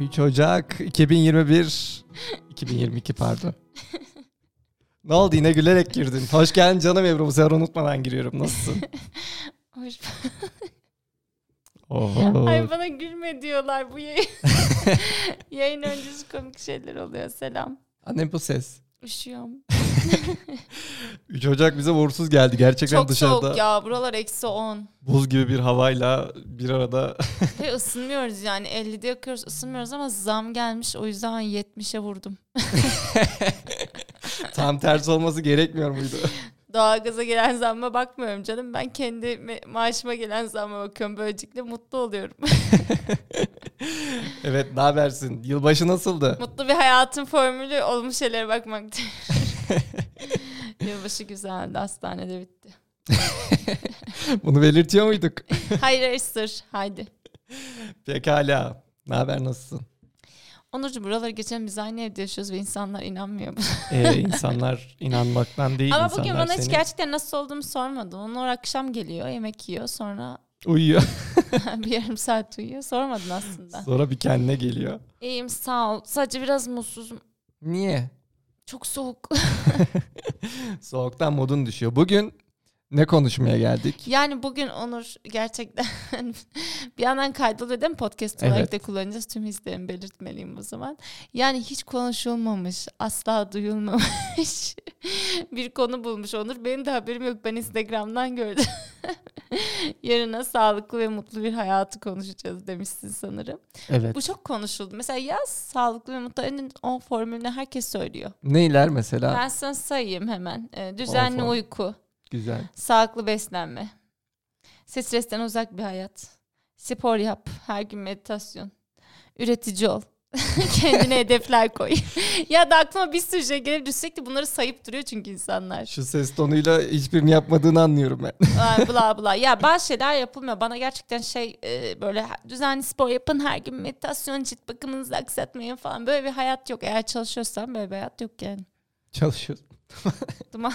3 Ocak 2021. 2022 pardon. ne oldu yine gülerek girdin. Hoş geldin canım Ebru. Bu sefer unutmadan giriyorum. Nasılsın? Hoş- Oo. Ay bana gülme diyorlar bu yayın. yayın öncesi komik şeyler oluyor. Selam. Annem bu ses. Üşüyorum. 3 Ocak bize uğursuz geldi. Gerçekten Çok dışarıda soğuk ya. Buralar eksi 10. buz gibi bir havayla bir arada Ve ısınmıyoruz yani. 50'de yakıyoruz ısınmıyoruz ama zam gelmiş. O yüzden 70'e vurdum. tam tersi olması gerekmiyor muydu? Doğalgaza gelen zamma bakmıyorum canım. Ben kendi me- maaşıma gelen zamma bakıyorum. Böylelikle mutlu oluyorum. evet ne habersin? Yılbaşı nasıldı? mutlu bir hayatın formülü olmuş şeylere bakmaktır. Yılbaşı güzeldi. Hastanede bitti. Bunu belirtiyor muyduk? Hayır sır. Haydi. Pekala. Ne haber nasılsın? Onurcuğum buraları geçen biz aynı evde yaşıyoruz ve insanlar inanmıyor. buna. Ee, insanlar inanmaktan değil Ama insanlar bugün bana seni hiç gerçekten nasıl olduğumu sormadı. Onur akşam geliyor, yemek yiyor. Sonra uyuyor. bir yarım saat uyuyor. Sormadın aslında. Sonra bir kendine geliyor. İyiyim sağ ol. Sadece biraz mutsuzum. Niye? Çok soğuk. Soğuktan modun düşüyor. Bugün ne konuşmaya geldik? yani bugün Onur gerçekten bir yandan kaydoluyor değil mi? Podcast olarak Evet. da kullanacağız. Tüm hislerimi belirtmeliyim o zaman. Yani hiç konuşulmamış, asla duyulmamış bir konu bulmuş Onur. Benim de haberim yok. Ben Instagram'dan gördüm. Yarına sağlıklı ve mutlu bir hayatı konuşacağız demişsin sanırım. Evet. Bu çok konuşuldu. Mesela yaz sağlıklı ve mutlu en 10 formülünü herkes söylüyor. Neyler mesela? Ben sana sayayım hemen. Ee, düzenli form. uyku, Güzel. sağlıklı beslenme, stresten uzak bir hayat, spor yap, her gün meditasyon, üretici ol. Kendine hedefler koy. ya da aklıma bir sürü şey gelip sürekli bunları sayıp duruyor çünkü insanlar. Şu ses tonuyla hiçbirini yapmadığını anlıyorum ben. Ay, bla bla. Ya bazı şeyler yapılmıyor. Bana gerçekten şey e, böyle düzenli spor yapın, her gün meditasyon, cilt bakımınızı aksatmayın falan. Böyle bir hayat yok. Eğer çalışıyorsan böyle bir hayat yok yani. Çalışıyoruz. Duman.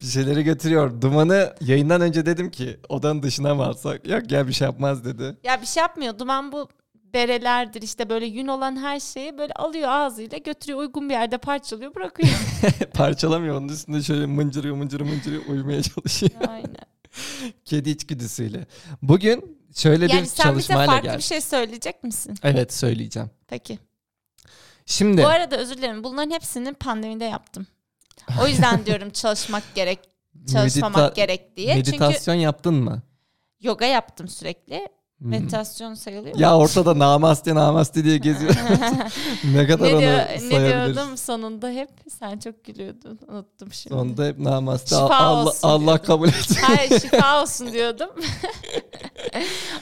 Bir şeyleri götürüyor. Dumanı yayından önce dedim ki odanın dışına mı alsak? Yok ya bir şey yapmaz dedi. Ya bir şey yapmıyor. Duman bu berelerdir işte böyle yün olan her şeyi böyle alıyor ağzıyla götürüyor uygun bir yerde parçalıyor bırakıyor. Parçalamıyor onun üstünde şöyle mıncırıyor mıncırıyor mıncırıyor uyumaya çalışıyor. Aynen. Kedi içgüdüsüyle. Bugün şöyle yani bir sen bize çalışmayla farklı geldim. bir şey söyleyecek misin? Evet söyleyeceğim. Peki. Şimdi Bu arada özür dilerim. Bunların hepsini pandemide yaptım. O yüzden diyorum çalışmak gerek, çalışmamak medita- gerek diye. Çünkü meditasyon yaptın mı? yoga yaptım sürekli. Hmm. Meditasyon sayılıyor mu? Ya ortada namaste namaste diye geziyor. ne kadar ne, onu diyor- ne sayabiliriz. diyordum sonunda hep? Sen çok gülüyordun. Unuttum şimdi. Sonunda hep namaste. Şifa Allah, olsun Allah diyordum. kabul et. Hayır şifa olsun diyordum.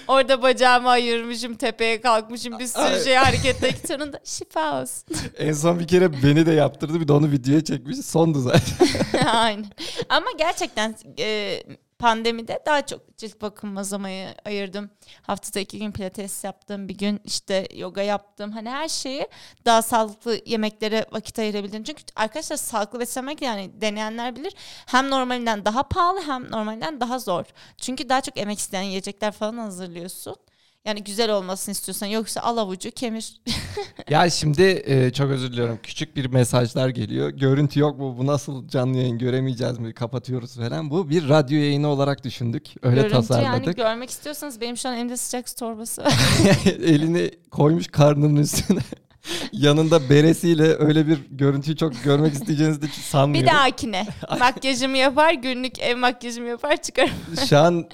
Orada bacağımı ayırmışım, tepeye kalkmışım, bir Ay. sürü şey hareketle sonunda şifa olsun. en son bir kere beni de yaptırdı. Bir de onu videoya çekmiş. Sondu zaten. Aynen. Ama gerçekten e, pandemide daha çok cilt bakımıma zamanı ayırdım. Haftada iki gün pilates yaptım, bir gün işte yoga yaptım. Hani her şeyi daha sağlıklı yemeklere vakit ayırabildim. Çünkü arkadaşlar sağlıklı beslenmek yani deneyenler bilir. Hem normalinden daha pahalı hem normalinden daha zor. Çünkü daha çok emek isteyen yiyecekler falan hazırlıyorsun. Yani güzel olmasını istiyorsan yoksa al avucu kemir. ya şimdi e, çok özür diliyorum. Küçük bir mesajlar geliyor. Görüntü yok mu? Bu nasıl canlı yayın göremeyeceğiz mi? Kapatıyoruz falan. Bu bir radyo yayını olarak düşündük. Öyle Görüntü yani tasarladık. görmek istiyorsanız benim şu an elimde sıcak su torbası var. elini koymuş karnının üstüne. Yanında beresiyle öyle bir görüntüyü çok görmek isteyeceğinizi de Bir sanmıyorum. dahakine. Makyajımı yapar, günlük ev makyajımı yapar çıkarım. Şu an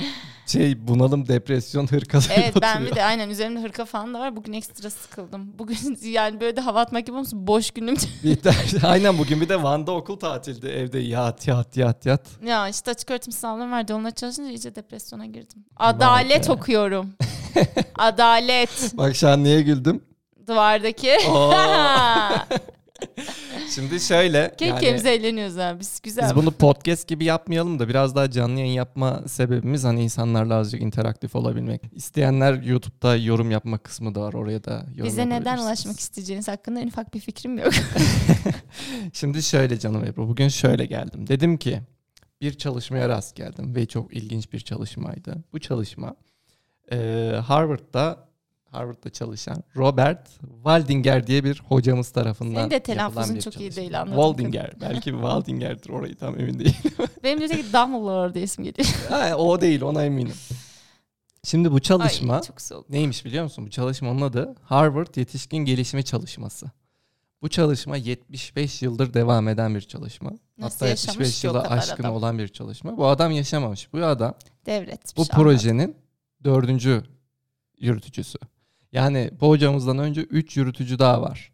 şey bunalım, depresyon, hırkalı Evet ben bir de aynen üzerimde hırka falan da var. Bugün ekstra sıkıldım. Bugün yani böyle de hava atmak gibi olmuş. Boş günüm. Aynen bugün bir de Van'da okul tatildi. Evde yat yat yat yat. ya işte açık öğretim sınavlarım vardı. Onunla çalışınca iyice depresyona girdim. Adalet be. okuyorum. Adalet. Bak şu an niye güldüm? Duvardaki. Oo. Şimdi şöyle. Keşke yani yani, eğleniyoruz abi. Biz güzel. biz bunu podcast gibi yapmayalım da biraz daha canlı yayın yapma sebebimiz hani insanlarla azıcık interaktif olabilmek. İsteyenler YouTube'da yorum yapma kısmı da var. Oraya da yorum Bize neden yapabilirsiniz. ulaşmak isteyeceğiniz hakkında en ufak bir fikrim yok. Şimdi şöyle canım Ebru bugün şöyle geldim. Dedim ki bir çalışmaya rast geldim ve çok ilginç bir çalışmaydı. Bu çalışma eee, e, Harvard'da Harvard'da çalışan Robert Waldinger diye bir hocamız tarafından Senin de yapılan telaffuzun bir çok iyi çalışma. değil, anladım. Waldinger. Belki Waldinger'dir orayı tam emin değilim. Benim de tek Dumbledore diye isim geliyor. Ha, o değil ona eminim. Şimdi bu çalışma Ay çok soğuk. neymiş biliyor musun? Bu çalışmanın adı Harvard Yetişkin Gelişimi Çalışması. Bu çalışma 75 yıldır devam eden bir çalışma. Nasıl Hatta yaşamış 75 ki o yıla kadar aşkın adam? olan bir çalışma. Bu adam yaşamamış. Bu adam Devretmiş. bu anladım. projenin dördüncü yürütücüsü. Yani bu hocamızdan önce üç yürütücü daha var.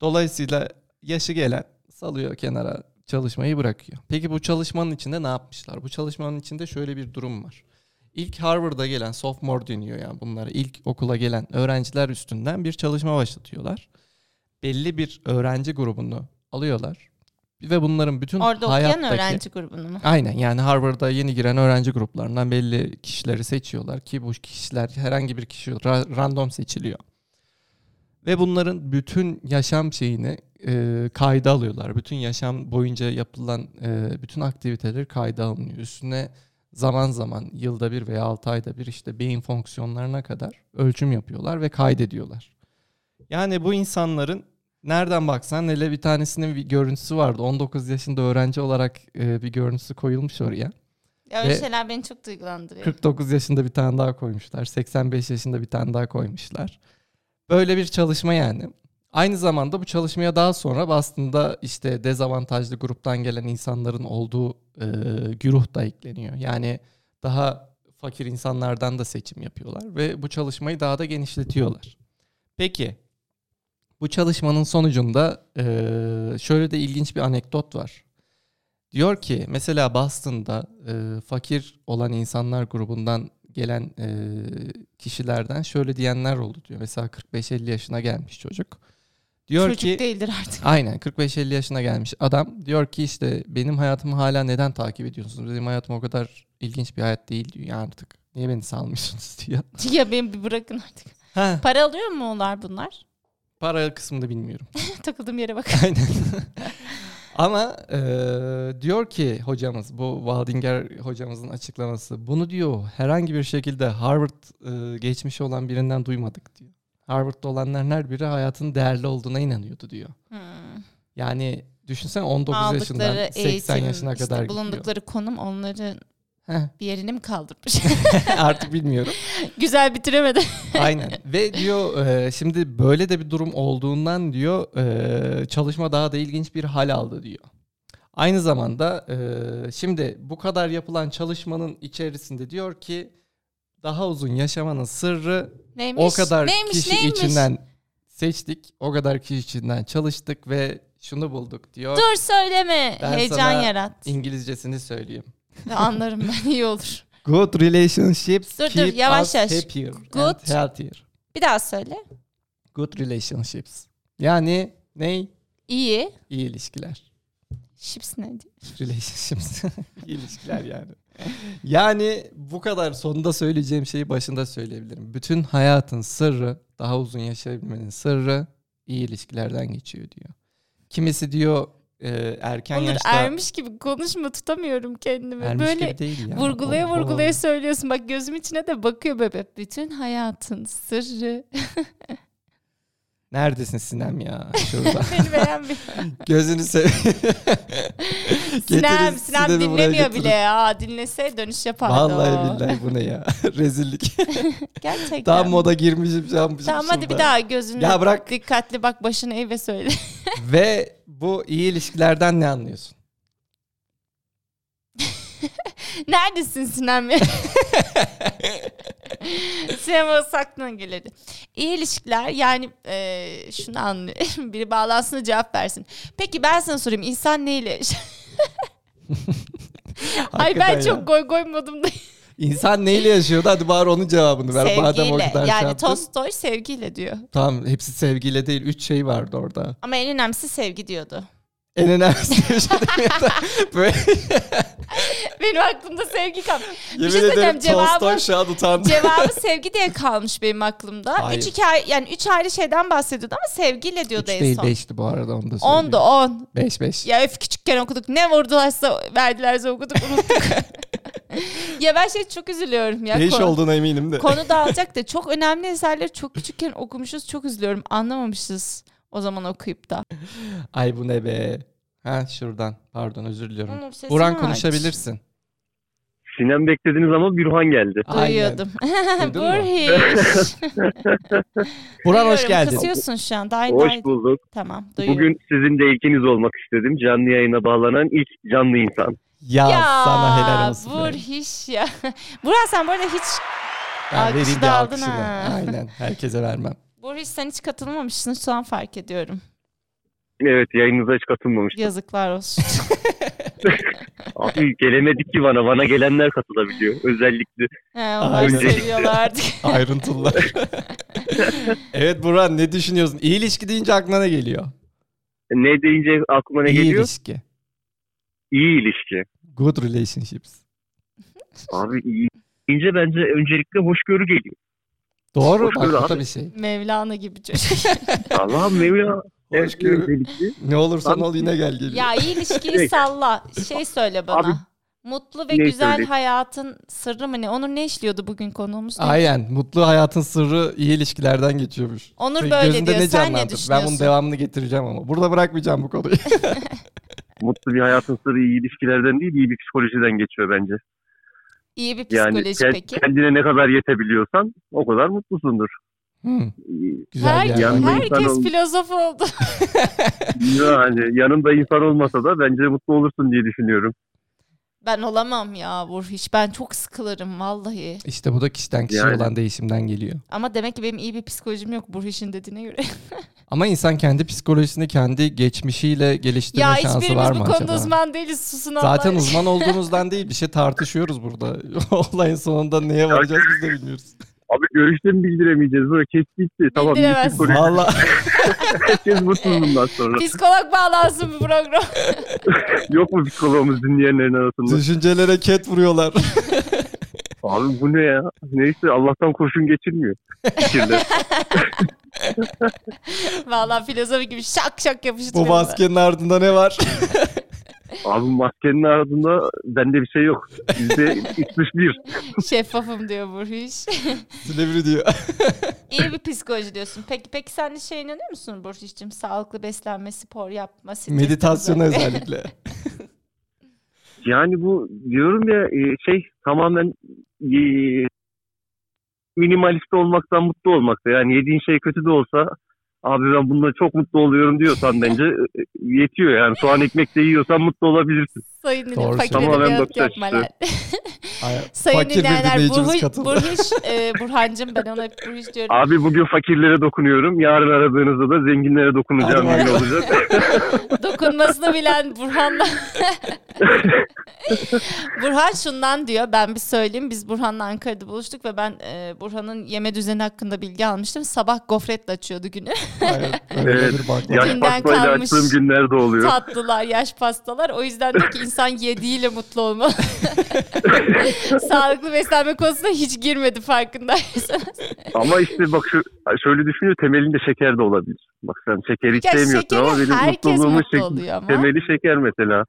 Dolayısıyla yaşı gelen salıyor kenara çalışmayı bırakıyor. Peki bu çalışmanın içinde ne yapmışlar? Bu çalışmanın içinde şöyle bir durum var. İlk Harvard'a gelen sophomore deniyor yani bunlara ilk okula gelen öğrenciler üstünden bir çalışma başlatıyorlar. Belli bir öğrenci grubunu alıyorlar ve bunların bütün Orada okuyan hayattaki öğrenci grubunu mu? Aynen yani Harvard'a yeni giren öğrenci gruplarından belli kişileri seçiyorlar ki bu kişiler herhangi bir kişi ra- random seçiliyor. Ve bunların bütün yaşam şeyini e, kayda alıyorlar. Bütün yaşam boyunca yapılan e, bütün aktiviteleri kayda alınıyor. Üstüne zaman zaman yılda bir veya 6 ayda bir işte beyin fonksiyonlarına kadar ölçüm yapıyorlar ve kaydediyorlar. Yani bu insanların nereden baksan hele bir tanesinin bir görüntüsü vardı. 19 yaşında öğrenci olarak e, bir görüntüsü koyulmuş oraya. Ya öyle Ve- şeyler beni çok duygulandırıyor. 49 yaşında bir tane daha koymuşlar. 85 yaşında bir tane daha koymuşlar. Böyle bir çalışma yani. Aynı zamanda bu çalışmaya daha sonra aslında işte dezavantajlı gruptan gelen insanların olduğu e, güruh da ekleniyor. Yani daha fakir insanlardan da seçim yapıyorlar ve bu çalışmayı daha da genişletiyorlar. Peki bu çalışmanın sonucunda e, şöyle de ilginç bir anekdot var. Diyor ki mesela Boston'da e, fakir olan insanlar grubundan gelen e, kişilerden şöyle diyenler oldu diyor. Mesela 45-50 yaşına gelmiş çocuk. Diyor Çocuk ki değildir artık. Aynen 45-50 yaşına gelmiş adam diyor ki işte benim hayatımı hala neden takip ediyorsunuz? Benim hayatım o kadar ilginç bir hayat değil diyor ya artık. Niye beni salmıyorsunuz diyor. ya beni bir bırakın artık. Ha, Para alıyor mu onlar bunlar? para kısmında bilmiyorum. Takıldığım yere bak. Aynen. Ama e, diyor ki hocamız bu Waldinger hocamızın açıklaması bunu diyor herhangi bir şekilde Harvard e, geçmişi olan birinden duymadık diyor. Harvard'da olanların her biri hayatın değerli olduğuna inanıyordu diyor. Hmm. Yani düşünsen 19 yaşından Aldıkları 80 eğitim, yaşına işte kadar gidiyor. bulundukları konum onları Heh, bir yerini mi kaldırmış? Artık bilmiyorum. Güzel bitiremedi. Aynen. Ve diyor e, şimdi böyle de bir durum olduğundan diyor e, çalışma daha da ilginç bir hal aldı diyor. Aynı zamanda e, şimdi bu kadar yapılan çalışmanın içerisinde diyor ki daha uzun yaşamanın sırrı Neymiş? o kadar neymiş, kişi neymiş? içinden seçtik, o kadar kişi içinden çalıştık ve şunu bulduk diyor. Dur söyleme. Ben Heyecan sana yarat. İngilizcesini söyleyeyim. Anlarım ben iyi olur. Good relationships Dur, dur, keep yavaş us yavaş. happier and Good- healthier. Bir daha söyle. Good relationships. Yani ney? İyi. İyi ilişkiler. Şips neydi? Relationships. İyi ilişkiler yani. Yani bu kadar sonunda söyleyeceğim şeyi başında söyleyebilirim. Bütün hayatın sırrı, daha uzun yaşayabilmenin sırrı iyi ilişkilerden geçiyor diyor. Kimisi diyor e, erken Onur yaşta ermiş gibi konuşma tutamıyorum kendimi. ermiş Böyle gibi değil ya. vurgulaya Oho. vurgulaya söylüyorsun. Bak gözüm içine de bakıyor bebek. Bütün hayatın sırrı. Neredesin Sinem ya? Şurada. Beni beğenmiyor. Gözünü seveyim. Sinem, Getirin Sinem Sinem'i buraya dinlemiyor getirin. bile ya. Dinlese dönüş yapardı Vallahi o. billahi bu ne ya? Rezillik. Gerçekten. Daha moda girmişim şu an. bizim Tamam hadi şurada. bir daha gözünü Ya bırak. dikkatli bak başını eğ ve söyle. Ve bu iyi ilişkilerden ne anlıyorsun? Neredesin Sinem? Sinem Osak'tan gelirdi. İyi ilişkiler yani e, şunu anlıyorum. Biri bağlansın da cevap versin. Peki ben sana sorayım insan neyle yaşar? Ay Hakikaten ben ya. çok goy goy modumda. İnsan neyle yaşıyordu? Hadi bari onun cevabını ver. Madem o sevgiyle. kadar şey yani yaptın. Tolstoy sevgiyle diyor. Tamam hepsi sevgiyle değil. Üç şey vardı orada. Ama en önemlisi sevgi diyordu. En önemlisi bir şey değil. Böyle şey Benim aklımda sevgi kalmış. bir şey yemin ederim söyleyeceğim Tolstoy cevabı. şu an utandı. Cevabı sevgi diye kalmış benim aklımda. Hayır. Üç hikaye, yani üç ayrı şeyden bahsediyordu ama sevgiyle diyordu Üç en değil son. beşti bu arada onu da söyleyeyim. On da on. Beş beş. Ya öf küçükken okuduk. Ne vurdularsa verdilerse okuduk unuttuk. ya ben şey çok üzülüyorum ya. Değiş Konu- olduğuna eminim de. Konu dağılacak da çok önemli eserleri çok küçükken okumuşuz çok üzülüyorum anlamamışız o zaman okuyup da. Ay bu ne be. Ha şuradan. Pardon özür diliyorum. Oğlum sesini Buran aç. konuşabilirsin. Sinem beklediğiniz zaman Gürhan geldi. Duyuyordum. Duydun mu? Burhiş. Buran hoş Duyuyorum, geldin. Kısıyorsun şu an. Day, Hoş bulduk. Tamam duyuyorum. Bugün sizin de ilkiniz olmak istedim. Canlı yayına bağlanan ilk canlı insan. Ya, sana helal olsun. be. Burhiş ya. Buran sen bu arada hiç Ben Alkışı vereyim da de aldın alkışını. ha. Aynen. Herkese vermem. Burhiş sen hiç katılmamışsın şu an fark ediyorum. Evet yayınınıza hiç katılmamıştım. Yazıklar olsun. Abi gelemedik ki bana. Bana gelenler katılabiliyor. Özellikle. He, onlar Aynen. Ee, seviyorlardı. Ayrıntılılar. evet Buran ne düşünüyorsun? İyi ilişki deyince aklına ne geliyor? Ne deyince aklıma ne İyi geliyor? ilişki. İyi ilişki. Good relationships. Abi iyi deyince bence öncelikle hoşgörü geliyor. Doğru. Hoşgörü Bak bu da abi. bir şey. Mevlana gibi çocuk. Allah Mevla. Hoşgörü. Öncelikle. Ne olursan Abi- ol yine gel geliyor. ya iyi ilişkiyi salla. Şey söyle bana. Abi, Mutlu ve ne güzel söyleyeyim? hayatın sırrı mı ne? Onur ne işliyordu bugün konuğumuz? Ne? Aynen. Mutlu hayatın sırrı iyi ilişkilerden geçiyormuş. Onur Senin böyle gözünde diyor, sen ne canlandı? Ben bunun düşünüyorsun? devamını getireceğim ama. Burada bırakmayacağım bu konuyu. Mutlu bir hayatın sırrı iyi ilişkilerden değil, iyi bir psikolojiden geçiyor bence. İyi bir Yani psikoloji ke- peki. kendine ne kadar yetebiliyorsan o kadar mutlusundur. Hmm, güzel Her, bir Yanında yerden. insan herkes ol- filozof oldu. Yani hani yanında insan olmasa da bence mutlu olursun diye düşünüyorum. ben olamam ya Burhiş. Ben çok sıkılırım vallahi. İşte bu da kişiden kişiye Yani. olan değişimden geliyor. Ama demek ki benim iyi bir psikolojim yok Burhiş'in dediğine göre. Ama insan kendi psikolojisini kendi geçmişiyle geliştirme ya şansı var hiçbirimiz mı bu konuda acaba? uzman değiliz. Susun Allah Zaten aşkına. uzman olduğumuzdan değil bir şey tartışıyoruz burada. Olayın sonunda neye varacağız biz de bilmiyoruz. Abi görüşte mi bildiremeyeceğiz? Böyle kes gitti. Tamam iyi Bildiremez. psikoloji. Valla Herkes mutsuz bundan sonra. Psikolog bağlansın bu program. Yok mu psikologumuz dinleyenlerin arasında? düşüncelere ket vuruyorlar. Abi bu ne ya? Neyse Allah'tan kurşun geçirmiyor. Fikirler. Vallahi filozof gibi şak şak yapıştırıyor. bu maskenin ardında ne var? Abi maskenin ardında bende bir şey yok. Bizde 61. Şeffafım diyor Burhiş. Silivri diyor. İyi bir psikoloji diyorsun. Peki peki sen de şey inanıyor musun Burçiş'cim? Sağlıklı beslenme, spor yapma, stres Meditasyona temizleme. özellikle. Yani bu diyorum ya e, şey tamamen e, minimalist olmaktan mutlu olmakta. Yani yediğin şey kötü de olsa abi ben bununla çok mutlu oluyorum diyorsan bence e, yetiyor yani. Soğan ekmek de yiyorsan mutlu olabilirsin. Sayın Nilay, Doğru fakire söylüyorsun. de bir Tamamen yanıt bakış yapma açısı. lan. Ay, Sayın Fakir bir dinleyenler, dinleyicimiz Burhi, katıldı. Burhiş, e, Burhan'cım ben ona hep Burhiş diyorum. Abi bugün fakirlere dokunuyorum. Yarın aradığınızda da zenginlere dokunacağım Hadi gibi bakalım. olacak. Dokunmasını bilen Burhan'la. Burhan şundan diyor ben bir söyleyeyim biz Burhan'la Ankara'da buluştuk ve ben e, Burhan'ın yeme düzeni hakkında bilgi almıştım. Sabah gofretle açıyordu günü. Hayır, öyle Evet. bir bakma. Yaş Günden pastayla kalmış. açtığım günler de oluyor. Tatlılar, yaş pastalar. O yüzden de ki insan yediğiyle mutlu olmalı. Sağlıklı beslenme konusuna hiç girmedi farkındaysanız. Ama işte bak şu, şöyle düşünüyor temelinde şeker de olabilir. Bak sen şekeri hiç Ya sevmiyorsun şekeri ama benim herkes mutluluğumun mutlu şek- oluyor ama. temeli şeker mesela.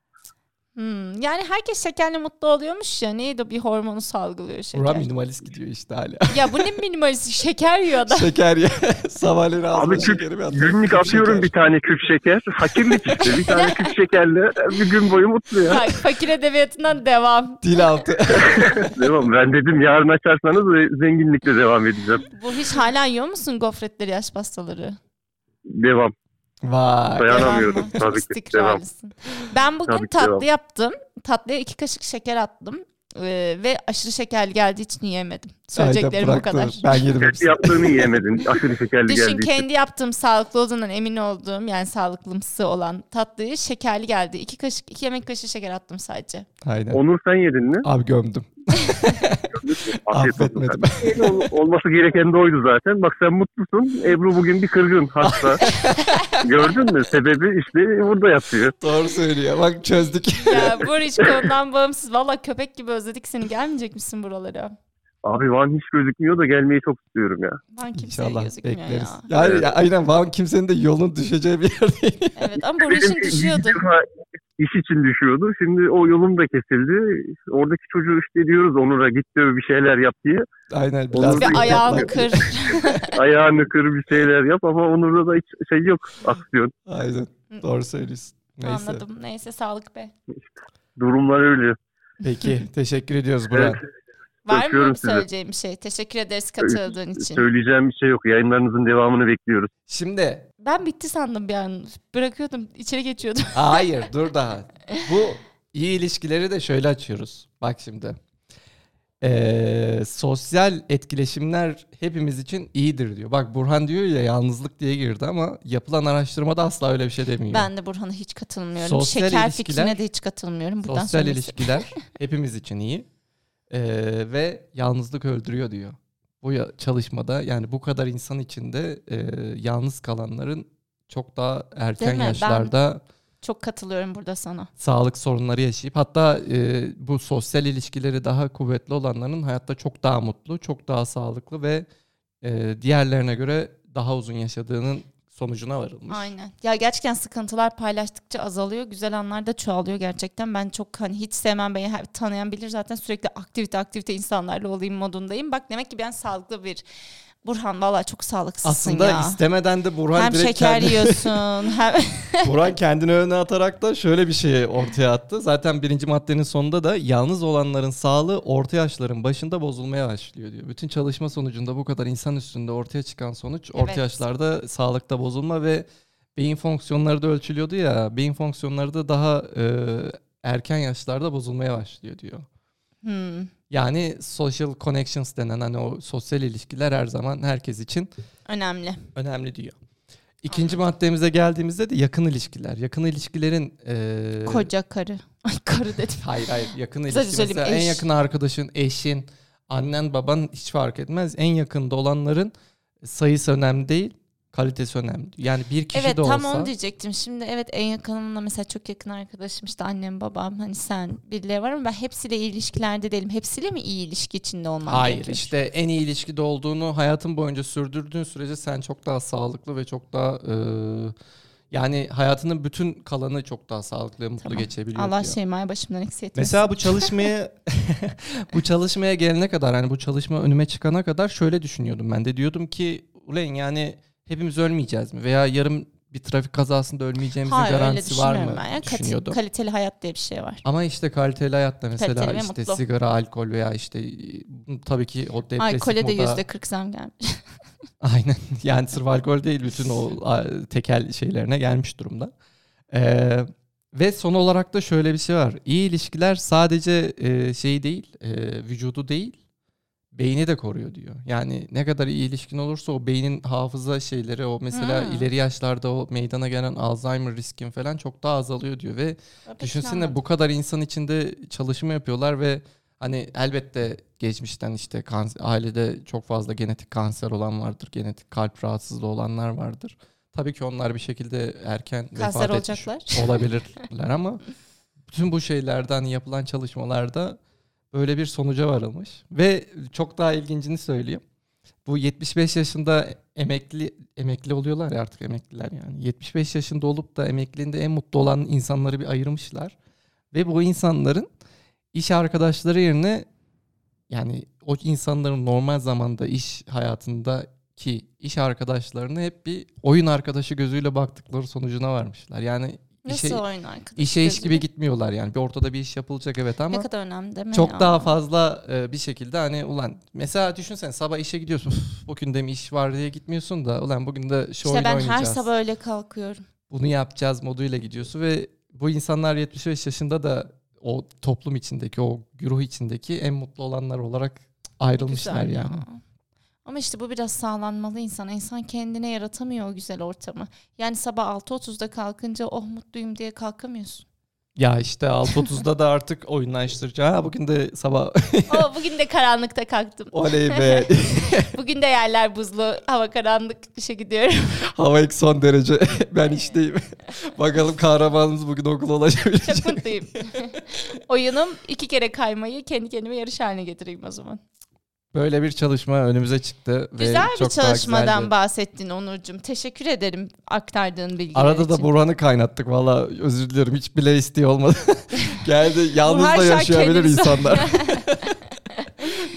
Hmm, yani herkes şekerle mutlu oluyormuş ya. Neydi bir hormonu salgılıyor şeker. Burak minimalist gidiyor işte hala. ya bu ne minimalisti şeker yiyor adam. Şeker ya. Sabahleyin ağzına Abi küp, şekeri bir atıyorum. günlük Küp atıyorum şeker. bir tane küp şeker. Fakirlik işte. Bir tane küp şekerle bir gün boyu mutlu ya. Bak, fakir edebiyatından devam. Dil altı. Devam. Ben dedim yarın açarsanız e, zenginlikle devam edeceğim. Bu hiç hala yiyor musun gofretleri, yaş pastaları? Devam. Vay. Bayağı- Devam mı? Dayanamıyorum. Çok Tabii ki, istikrarlısın. Ben bugün Tabii ki, tatlı devam. yaptım. Tatlıya iki kaşık şeker attım. Ee, ve aşırı şekerli geldiği için yiyemedim. Söyleyeceklerim Aynen, bu kadar. bıraktı. Ben yedim Hepsi hepsini. yaptığını yiyemedin. Aşırı şekerli Düşün geldi. kendi yaptığım sağlıklı olduğundan emin olduğum yani sağlıklımsı olan tatlıyı şekerli geldi. İki kaşık, iki yemek kaşığı şeker attım sadece. Aynen. Onur sen yedin mi? Abi gömdüm. Afiyet olsun. Affetmedim. Ol- olması gereken de oydu zaten. Bak sen mutlusun. Ebru bugün bir kırgın hasta. Gördün mü? Sebebi işte burada yatıyor. Doğru söylüyor. Bak çözdük. Ya bu hiç konudan bağımsız. Valla köpek gibi özledik seni. Gelmeyecek misin buralara? Abi Van hiç gözükmüyor da gelmeyi çok istiyorum ya. Ben kimseye İnşallah gözükmüyor bekleriz. ya. Yani ya aynen Van kimsenin de yolun düşeceği bir yer değil. Evet ama bu işin Dedim ki, düşüyordu. Gürhan- iş için düşüyordu. Şimdi o yolum da kesildi. Oradaki çocuğu işte diyoruz Onur'a git diyor bir şeyler yap diye. Aynen Olur. biraz Ve Orada ayağını yapmak- kır. Ayağını kır bir şeyler yap ama Onur'da da hiç şey yok aksiyon. Aynen. Doğru söylüyorsun. Neyse. Anladım. Neyse sağlık be. Durumlar öyle. Peki teşekkür ediyoruz Burak. Evet, Var mı Öpüyorum sizi. söyleyeceğim bir şey? Teşekkür ederiz katıldığın için. söyleyeceğim bir şey yok. Yayınlarınızın devamını bekliyoruz. Şimdi Ben bitti sandım bir an. Bırakıyordum. içeri geçiyordum. hayır dur daha. Bu iyi ilişkileri de şöyle açıyoruz. Bak şimdi. Ee, sosyal etkileşimler hepimiz için iyidir diyor. Bak Burhan diyor ya yalnızlık diye girdi ama yapılan araştırmada asla öyle bir şey demiyor. Ben de Burhan'a hiç katılmıyorum. Sosyal Şeker ilişkiler- fikrine de hiç katılmıyorum. Buradan Sosyal söylemek ilişkiler hepimiz için iyi Ee, ve yalnızlık öldürüyor diyor. Bu ya- çalışmada yani bu kadar insan içinde e, yalnız kalanların çok daha erken mi? Ben- yaşlarda Çok katılıyorum burada sana. sağlık sorunları yaşayıp hatta e, bu sosyal ilişkileri daha kuvvetli olanların hayatta çok daha mutlu, çok daha sağlıklı ve e, diğerlerine göre daha uzun yaşadığının sonucuna varılmış. Aynen. Ya gerçekten sıkıntılar paylaştıkça azalıyor. Güzel anlar da çoğalıyor gerçekten. Ben çok hani hiç sevmem beni her- tanıyan bilir zaten sürekli aktivite aktivite insanlarla olayım modundayım. Bak demek ki ben sağlıklı bir Burhan valla çok sağlıksızsın Aslında ya. istemeden de Burhan hem direkt şeker kendi- yiyorsun hem Burak kendini öne atarak da şöyle bir şeyi ortaya attı. Zaten birinci maddenin sonunda da yalnız olanların sağlığı orta yaşların başında bozulmaya başlıyor diyor. Bütün çalışma sonucunda bu kadar insan üstünde ortaya çıkan sonuç orta Evet. yaşlarda sağlıkta bozulma ve beyin fonksiyonları da ölçülüyordu ya. Beyin fonksiyonları da daha e, erken yaşlarda bozulmaya başlıyor diyor. Hmm, Yani social connections denen hani o sosyal ilişkiler her zaman herkes için önemli. önemli diyor. İkinci maddemize geldiğimizde de yakın ilişkiler. Yakın ilişkilerin eee, Koca karı. Ay karı dedim. hayır hayır yakın ilişki Güzel söyleyeyim, mesela en eş. yakın arkadaşın, eşin, annen, baban hiç fark etmez. En yakında olanların sayısı önemli değil, kalitesi önemli. Yani bir kişi Evet de olsa tam onu diyecektim. Şimdi evet en yakınımla mesela çok yakın arkadaşım işte annem babam hani sen birileri var ama ben hepsiyle iyi ilişkilerde değilim. Hepsiyle mi iyi ilişki içinde olmam Hayır gerekiyor? işte en iyi ilişkide olduğunu hayatın boyunca sürdürdüğün sürece sen çok daha sağlıklı ve çok daha eee, yani hayatının bütün kalanı çok daha sağlıklı ve mutlu Tamam. geçebiliyor. Allah diyor. Şeyma'yı başımdan eksik etmesin. Mesela bu çalışmaya bu çalışmaya gelene kadar hani bu çalışma önüme çıkana kadar şöyle düşünüyordum ben de diyordum ki ulan yani hepimiz ölmeyeceğiz mi veya yarın bir trafik kazasında ölmeyeceğimizin Hayır, öyle garantisi var mı düşünmüyorum ben ya. Kati- düşünüyordum. kaliteli hayat diye bir şey var. Ama işte kaliteli hayatta mesela Kaliteli ve işte mutlu. sigara, alkol veya işte e, tabii ki o depresif Alkole de moda- yüzde kırk zam gelmiş. Aynen. Yani sırf alkol değil bütün o a, tekel şeylerine gelmiş durumda. Ee, ve son olarak da şöyle bir şey var. İyi ilişkiler sadece e, şey değil, e, vücudu değil, beyni de koruyor diyor. Yani ne kadar iyi ilişkin olursa o beynin hafıza şeyleri o mesela Hmm. ileri yaşlarda o meydana gelen Alzheimer riskin falan çok daha azalıyor diyor ve Düşünsene bu kadar insan içinde çalışma yapıyorlar ve hani elbette geçmişten işte kanser, ailede çok fazla genetik kanser olan vardır. Genetik kalp rahatsızlığı olanlar vardır. Tabii ki onlar bir şekilde erken Kanser vefat etmiş olacaklar. olabilirler ama bütün bu şeylerden hani yapılan çalışmalarda böyle bir sonuca varılmış. Ve çok daha ilgincini söyleyeyim. Bu 75 yaşında emekli emekli oluyorlar ya artık emekliler yani. 75 yaşında olup da emekliliğinde en mutlu olan insanları bir ayırmışlar. Ve bu insanların iş arkadaşları yerine yani o insanların normal zamanda iş hayatındaki iş arkadaşlarını hep bir oyun arkadaşı gözüyle baktıkları sonucuna varmışlar. Yani Nasıl işe, oyun arkadaş? işe iş gibi gözüyle? gitmiyorlar yani. Bir ortada bir iş yapılacak evet ama Ne kadar önemli değil mi çok ya? daha fazla e, bir şekilde hani ulan mesela düşünsen sabah işe gidiyorsun. "Üf, bugün de mi iş var diye gitmiyorsun da ulan bugün de şu İşte oyunu ben her oynayacağız. sabah öyle kalkıyorum. Bunu yapacağız moduyla gidiyorsun ve bu insanlar 75 yaşında da o toplum içindeki o güruh içindeki en mutlu olanlar olarak ayrılmışlar Güzel ya. yani. Ama işte bu biraz sağlanmalı insana. İnsan kendine yaratamıyor o güzel ortamı. Yani sabah 6.30'da kalkınca oh mutluyum diye kalkamıyorsun. Ya işte 6.30'da da artık oyunlaştıracağı. Ha, bugün de sabah oh bugün de karanlıkta kalktım. oley be Bugün de yerler buzlu. Hava karanlık işe gidiyorum. hava ilk son derece ben işteyim. Bakalım kahramanımız bugün okula ulaşabilecek. Çok mutluyum. Oyunum iki kere kaymayı kendi kendime yarış haline getireyim o zaman. Böyle bir çalışma önümüze çıktı. güzel ve bir çok daha çalışmadan güzeldi. bahsettin Onurcuğum. Teşekkür ederim aktardığın bilgiler Arada da için. Burhan'ı kaynattık valla özür dilerim hiç bile isteği olmadı. Geldi yalnız Burhan da şu an yaşayabilir kendini insanlar.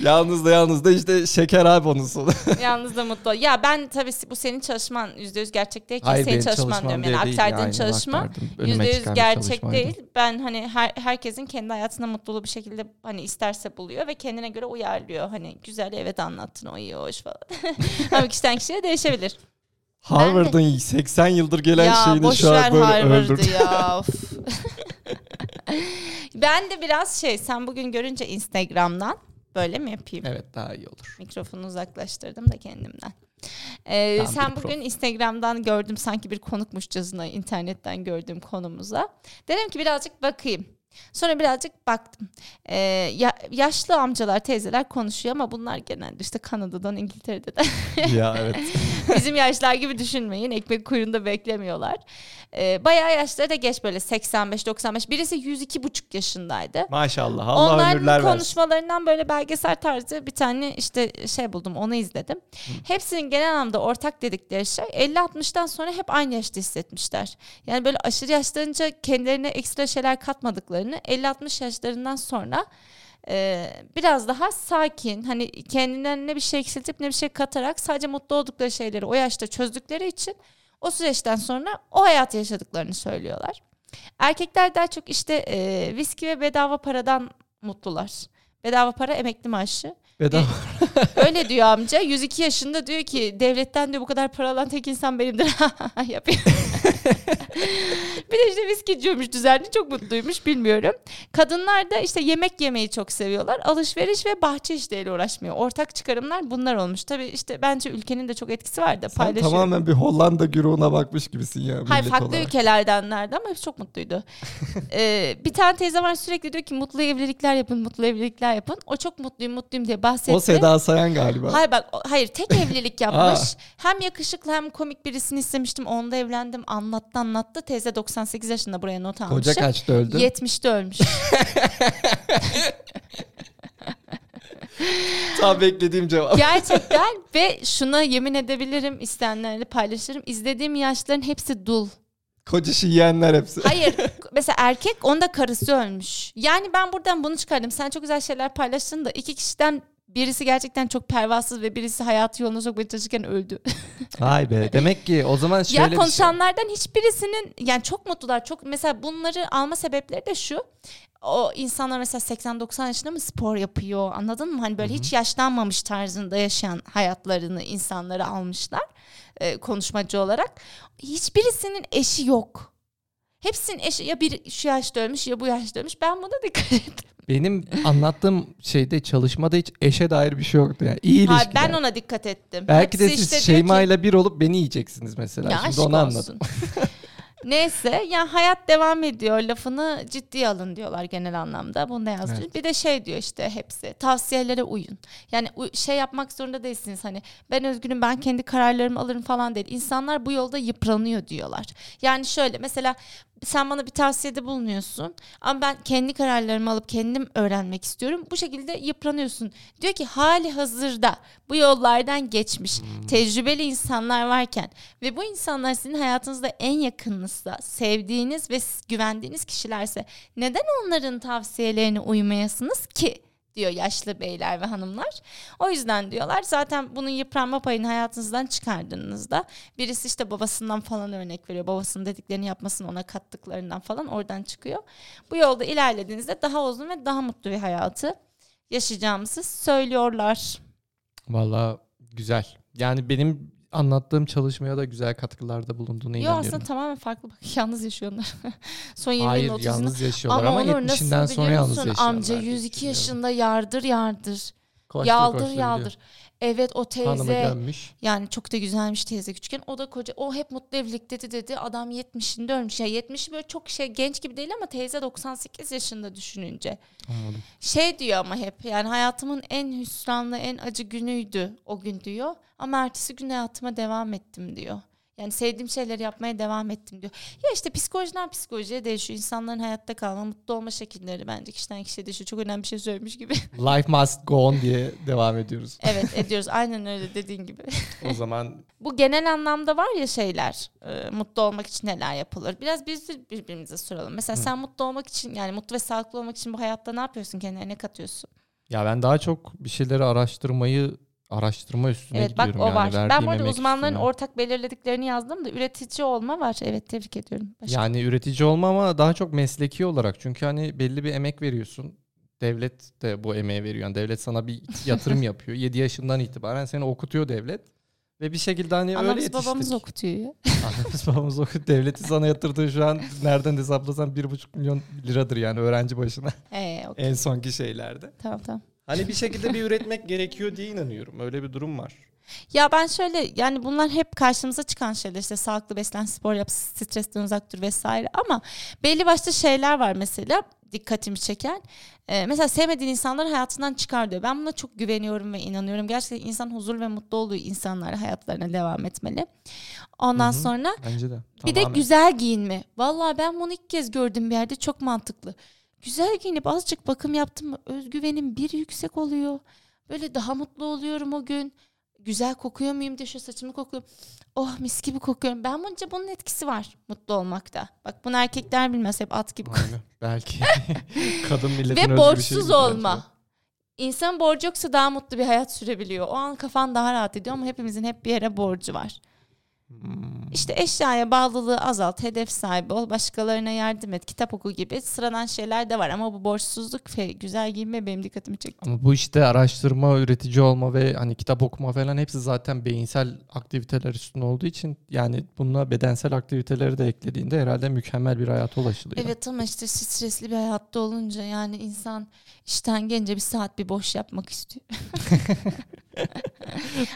yalnız da yalnız da işte şeker ay bonusu. Yalnız da mutlu. ol. Ya ben tabii bu senin çalışman %100 gerçek değil ki. Hayır senin benim çalışman çalışmam diyorum. bile Yani değil aktardığın yani, çalışma aktardım. Önüme %100 çıkan bir gerçek çalışmaydı. değil. Ben hani her, herkesin kendi hayatına mutluluğu bir şekilde hani isterse buluyor ve kendine göre uyarlıyor. Hani güzel evet anlattın o iyi hoş falan. Ama kişiden kişiye değişebilir. Harvard'ın 80 yıldır gelen ya şeyini boş şu an ver böyle Harvard'ı öldürdü. ya. of. ben de biraz şey sen bugün görünce Instagram'dan böyle mi yapayım? Evet daha iyi olur. Mikrofonu uzaklaştırdım da kendimden. Ee, Tam sen bir bugün prof. Instagram'dan gördüm sanki bir konukmuşçasına internetten gördüğüm konumuza. Dedim ki birazcık bakayım. Sonra birazcık baktım. Ee, ya- yaşlı amcalar, teyzeler konuşuyor ama bunlar genelde işte Kanada'dan, İngiltere'de de ya evet. bizim yaşlar gibi düşünmeyin. Ekmek kuyruğunda beklemiyorlar. Ee, bayağı yaşları da geç böyle 85-95. Birisi 102,5 yaşındaydı. Maşallah Allah ömürler Onların versin. konuşmalarından böyle belgesel tarzı bir tane işte şey buldum onu izledim. Hepsinin genel anlamda ortak dedikleri şey 50-60'dan sonra hep aynı yaşta hissetmişler. Yani böyle aşırı yaşlanınca kendilerine ekstra şeyler katmadıklarını 50-60 yaşlarından sonra e, biraz daha sakin hani kendinden ne bir şey eksiltip ne bir şey katarak sadece mutlu oldukları şeyleri o yaşta çözdükleri için o süreçten sonra o hayatı yaşadıklarını söylüyorlar. Erkekler daha çok işte e, viski ve bedava paradan mutlular. Bedava para emekli maaşı. Bedava. Öyle diyor amca. 102 yaşında diyor ki devletten diyor bu kadar para alan tek insan benimdir. Yapıyor. bir de işte viski içiyormuş düzenli çok mutluymuş bilmiyorum. Kadınlar da işte yemek yemeyi çok seviyorlar. Alışveriş ve bahçe işleriyle uğraşmıyor. Ortak çıkarımlar bunlar olmuş. Tabii işte bence ülkenin de çok etkisi var da Sen paylaşıyor. tamamen bir Hollanda güruhuna bakmış gibisin ya millet Hayır farklı olarak. ülkelerdenlerdi ama hepsi çok mutluydu. Ee, bir tane teyze var sürekli diyor ki mutlu evlilikler yapın, mutlu evlilikler yapın. O çok mutluyum, mutluyum diye bahsetti. O Seda Sayan galiba. Hayır bak o- hayır tek evlilik yapmış. Aa. hem yakışıklı hem komik birisini istemiştim. Onda evlendim. Anlattı anlattı. Teyze 98 yaşında buraya not almış. Koca kaçta öldü? 70'te ölmüş. Tam beklediğim cevap. Gerçekten ve şuna yemin edebilirim isteyenlerle paylaşırım. İzlediğim yaşların hepsi dul. Koca şiyenler hepsi. Hayır mesela erkek onda karısı ölmüş. Yani ben buradan bunu çıkardım. Sen çok güzel şeyler paylaştın da iki kişiden birisi gerçekten çok pervasız ve birisi hayatı yoluna sokmaya çalışırken öldü. Vay be. Demek ki o zaman şöyle ya bir şey. konuşanlardan hiçbirisinin yani çok mutlular. Çok mesela bunları alma sebepleri de şu. O insanlar mesela 80-90 yaşında mı spor yapıyor anladın mı? Hani böyle hiç yaşlanmamış tarzında yaşayan hayatlarını insanları almışlar e, konuşmacı olarak. Hiçbirisinin eşi yok. Hepsinin eşi ya bir şu yaşta ölmüş ya bu yaşta ölmüş. Ben buna dikkat ettim. Benim anlattığım şeyde çalışmada hiç eşe dair bir şey yoktu. Yani iyi Ha, ilişkiler. ben ona dikkat ettim. Belki de Hepsi siz işte diyor ki- Şeyma ile bir olup beni yiyeceksiniz mesela. Ya Şimdi aşk onu olsun. anladım. Neyse ya hayat devam ediyor lafını ciddiye alın diyorlar genel anlamda. Bunu da yazmış. Evet. Bir de şey diyor işte hepsi tavsiyelere uyun. Yani u- şey yapmak zorunda değilsiniz hani ben özgürüm ben kendi kararlarımı alırım falan değil. İnsanlar bu yolda yıpranıyor diyorlar. Yani şöyle mesela sen bana bir tavsiyede bulunuyorsun ama ben kendi kararlarımı alıp kendim öğrenmek istiyorum. Bu şekilde yıpranıyorsun. Diyor ki hali hazırda bu yollardan geçmiş tecrübeli insanlar varken ve bu insanlar sizin hayatınızda en yakınınızsa, sevdiğiniz ve s- güvendiğiniz kişilerse neden onların tavsiyelerine uymayasınız ki? diyor yaşlı beyler ve hanımlar. O yüzden diyorlar zaten bunun yıpranma payını hayatınızdan çıkardığınızda birisi işte babasından falan örnek veriyor. Babasının dediklerini yapmasını ona kattıklarından falan oradan çıkıyor. Bu yolda ilerlediğinizde daha uzun ve daha mutlu bir hayatı yaşayacağımızı söylüyorlar. Valla güzel. Yani benim anlattığım çalışmaya da güzel katkılarda bulunduğuna Yo inanıyorum. aslında tamamen farklı. Bak, yalnız yaşıyorlar. Son 20 Hayır 30'unda. yalnız yaşıyorlar ama, Onur 70'inden nasıl sonra biliyor yalnız musun? yaşıyorlar. Amca diye 102 düşünüyorum. yaşında yardır yardır. Koştur yaldır koştur yaldır. gidiyor. Evet o Hanıma teyze gelmiş. yani çok da güzelmiş teyze küçükken. O da koca o hep mutlu evlilik dedi dedi. Adam 70'inde ölmüş. Ya 70 böyle çok şey genç gibi değil ama teyze 98 yaşında düşününce. Anladım. Şey diyor ama hep yani hayatımın en hüsranlı en acı günüydü o gün diyor. Ama ertesi gün hayatıma devam ettim diyor. Yani sevdiğim şeyleri yapmaya devam ettim diyor. Ya işte psikolojiden psikolojiye değişiyor. İnsanların hayatta kalma, mutlu olma şekilleri bence kişiden kişiye değişiyor. Çok önemli bir şey söylemiş gibi. Life must go on diye devam ediyoruz. evet ediyoruz. Aynen öyle dediğin gibi. O zaman Bu genel anlamda var ya şeyler e, mutlu olmak için neler yapılır. Biraz biz de birbirimize soralım. Mesela sen mutlu olmak için yani mutlu ve sağlıklı olmak için bu hayatta ne yapıyorsun kendine ne katıyorsun? ya ben daha çok bir şeyleri araştırmayı araştırma üstüne evet bak gidiyorum yani. o var. Ben Verdiğim bu arada emek uzmanların üstüne. ortak belirlediklerini yazdım da üretici olma var. Evet tebrik ediyorum. Başka. Yani üretici olma ama daha çok mesleki olarak. Çünkü hani belli bir emek veriyorsun. Devlet de bu emeği veriyor. Yani devlet sana bir yatırım yapıyor. 7 yaşından itibaren seni okutuyor devlet. Ve bir şekilde hani öyle Anamız yetiştik. babamız okutuyor ya. Anamız babamız okuyor. Devletin sana yatırdığı şu an nereden hesaplasan 1,5 milyon liradır yani öğrenci başına. Ee, okey. en sonki şeylerde. Tamam tamam. Hani bir şekilde bir üretmek gerekiyor diye inanıyorum. Öyle bir durum var. Ya ben şöyle yani bunlar hep karşımıza çıkan şeyler işte sağlıklı beslen, spor yap, stresten uzak dur vesaire ama belli başlı şeyler var mesela dikkatimi çeken. Ee, mesela sevmediğin insanları hayatından çıkar diyor. Ben buna çok güveniyorum ve inanıyorum. Gerçekten insan huzur ve mutlu olduğu insanlar hayatlarına devam etmeli. Ondan Hı hı. sonra Bence de. bir de güzel giyinme. Vallahi ben bunu ilk kez gördüm bir yerde çok mantıklı. Güzel giyinip azıcık bakım yaptım mı özgüvenim bir yüksek oluyor. Böyle daha mutlu oluyorum o gün. Güzel kokuyor muyum diye şu saçımı kokluyorum. Oh mis gibi kokuyorum. Ben bunca bunun etkisi var mutlu olmakta. Bak bunu erkekler bilmez hep at gibi kokuyor. Belki. Kadın milletin özgü bir şey Ve borçsuz bence. olma. İnsan borcu yoksa daha mutlu bir hayat sürebiliyor. O an kafan daha rahat ediyor ama hepimizin hep bir yere borcu var. İşte eşyaya bağlılığı azalt, hedef sahibi ol, başkalarına yardım et, kitap oku gibi sıradan şeyler de var ama bu borçsuzluk ve güzel giyinme benim dikkatimi çekti. Ama bu işte araştırma, üretici olma ve hani kitap okuma falan hepsi zaten beyinsel aktiviteler üstüne olduğu için yani bununla bedensel aktiviteleri de eklediğinde herhalde mükemmel bir hayata ulaşılıyor. Evet ama işte stresli bir hayatta olunca yani insan işten gelince bir saat bir boş yapmak istiyor.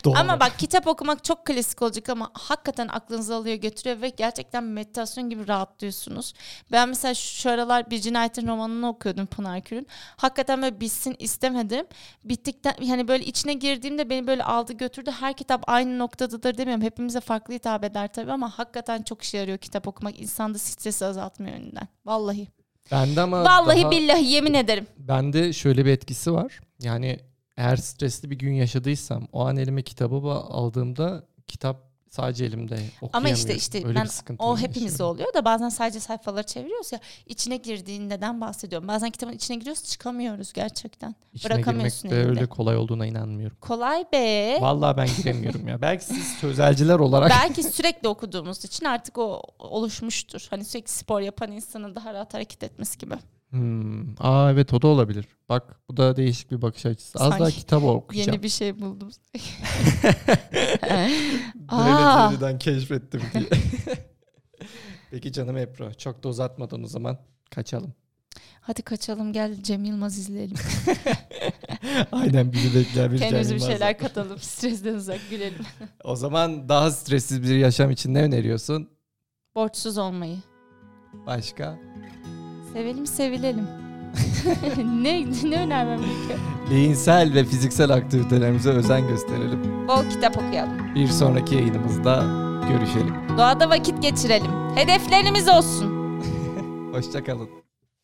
Doğru. Ama bak kitap okumak çok klasik olacak ama hakikaten aklınızı alıyor götürüyor ve gerçekten meditasyon gibi rahatlıyorsunuz. Ben mesela şu aralar bir cinayetin romanını okuyordum Pınar Kür'ün. Hakikaten böyle bitsin istemedim. Bittikten hani böyle içine girdiğimde beni böyle aldı götürdü. Her kitap aynı noktadadır demiyorum. Hepimize farklı hitap eder tabii ama hakikaten çok işe yarıyor kitap okumak. İnsanda stresi azaltmıyor önünden. Vallahi. Bende ama Vallahi daha- billahi yemin ederim. Bende şöyle bir etkisi var. Yani eğer stresli bir gün yaşadıysam o an elime kitabı ba- aldığımda kitap sadece elimde okuyamıyorum. Ama işte işte Öyle ben bir sıkıntı o hepimizde oluyor da bazen sadece sayfaları çeviriyoruz ya içine girdiğinden bahsediyorum. Bazen kitabın içine giriyoruz çıkamıyoruz gerçekten. bırakamıyorsun girmek de elinde. E? öyle kolay olduğuna inanmıyorum. Kolay be. Vallahi ben giremiyorum ya. Belki siz sözelciler olarak Belki sürekli okuduğumuz için artık o oluşmuştur. Hani sürekli spor yapan insanın daha rahat hareket etmesi gibi. Hmm. Aa evet o da olabilir. Bak bu da değişik bir bakış açısı. Az Sanki daha kitap okuyacağım. Yeni bir şey buldum. Aa. Devlet yeniden keşfettim diye. Peki canım Ebru çok da uzatmadan o zaman kaçalım. Hadi kaçalım gel Cem Yılmaz izleyelim. Aynen bizi bekler bir Kendimize Cem bir Yılmaz. şeyler katalım. Stresten uzak gülelim. O zaman daha stressiz bir yaşam için ne öneriyorsun? Borçsuz olmayı. Başka? Sevelim sevilelim. ne, ne önermem gerekiyor? Beyinsel ve fiziksel aktivitelerimize özen gösterelim. Bol kitap okuyalım. Bir sonraki yayınımızda görüşelim. Doğada vakit geçirelim. Hedeflerimiz olsun. Hoşçakalın.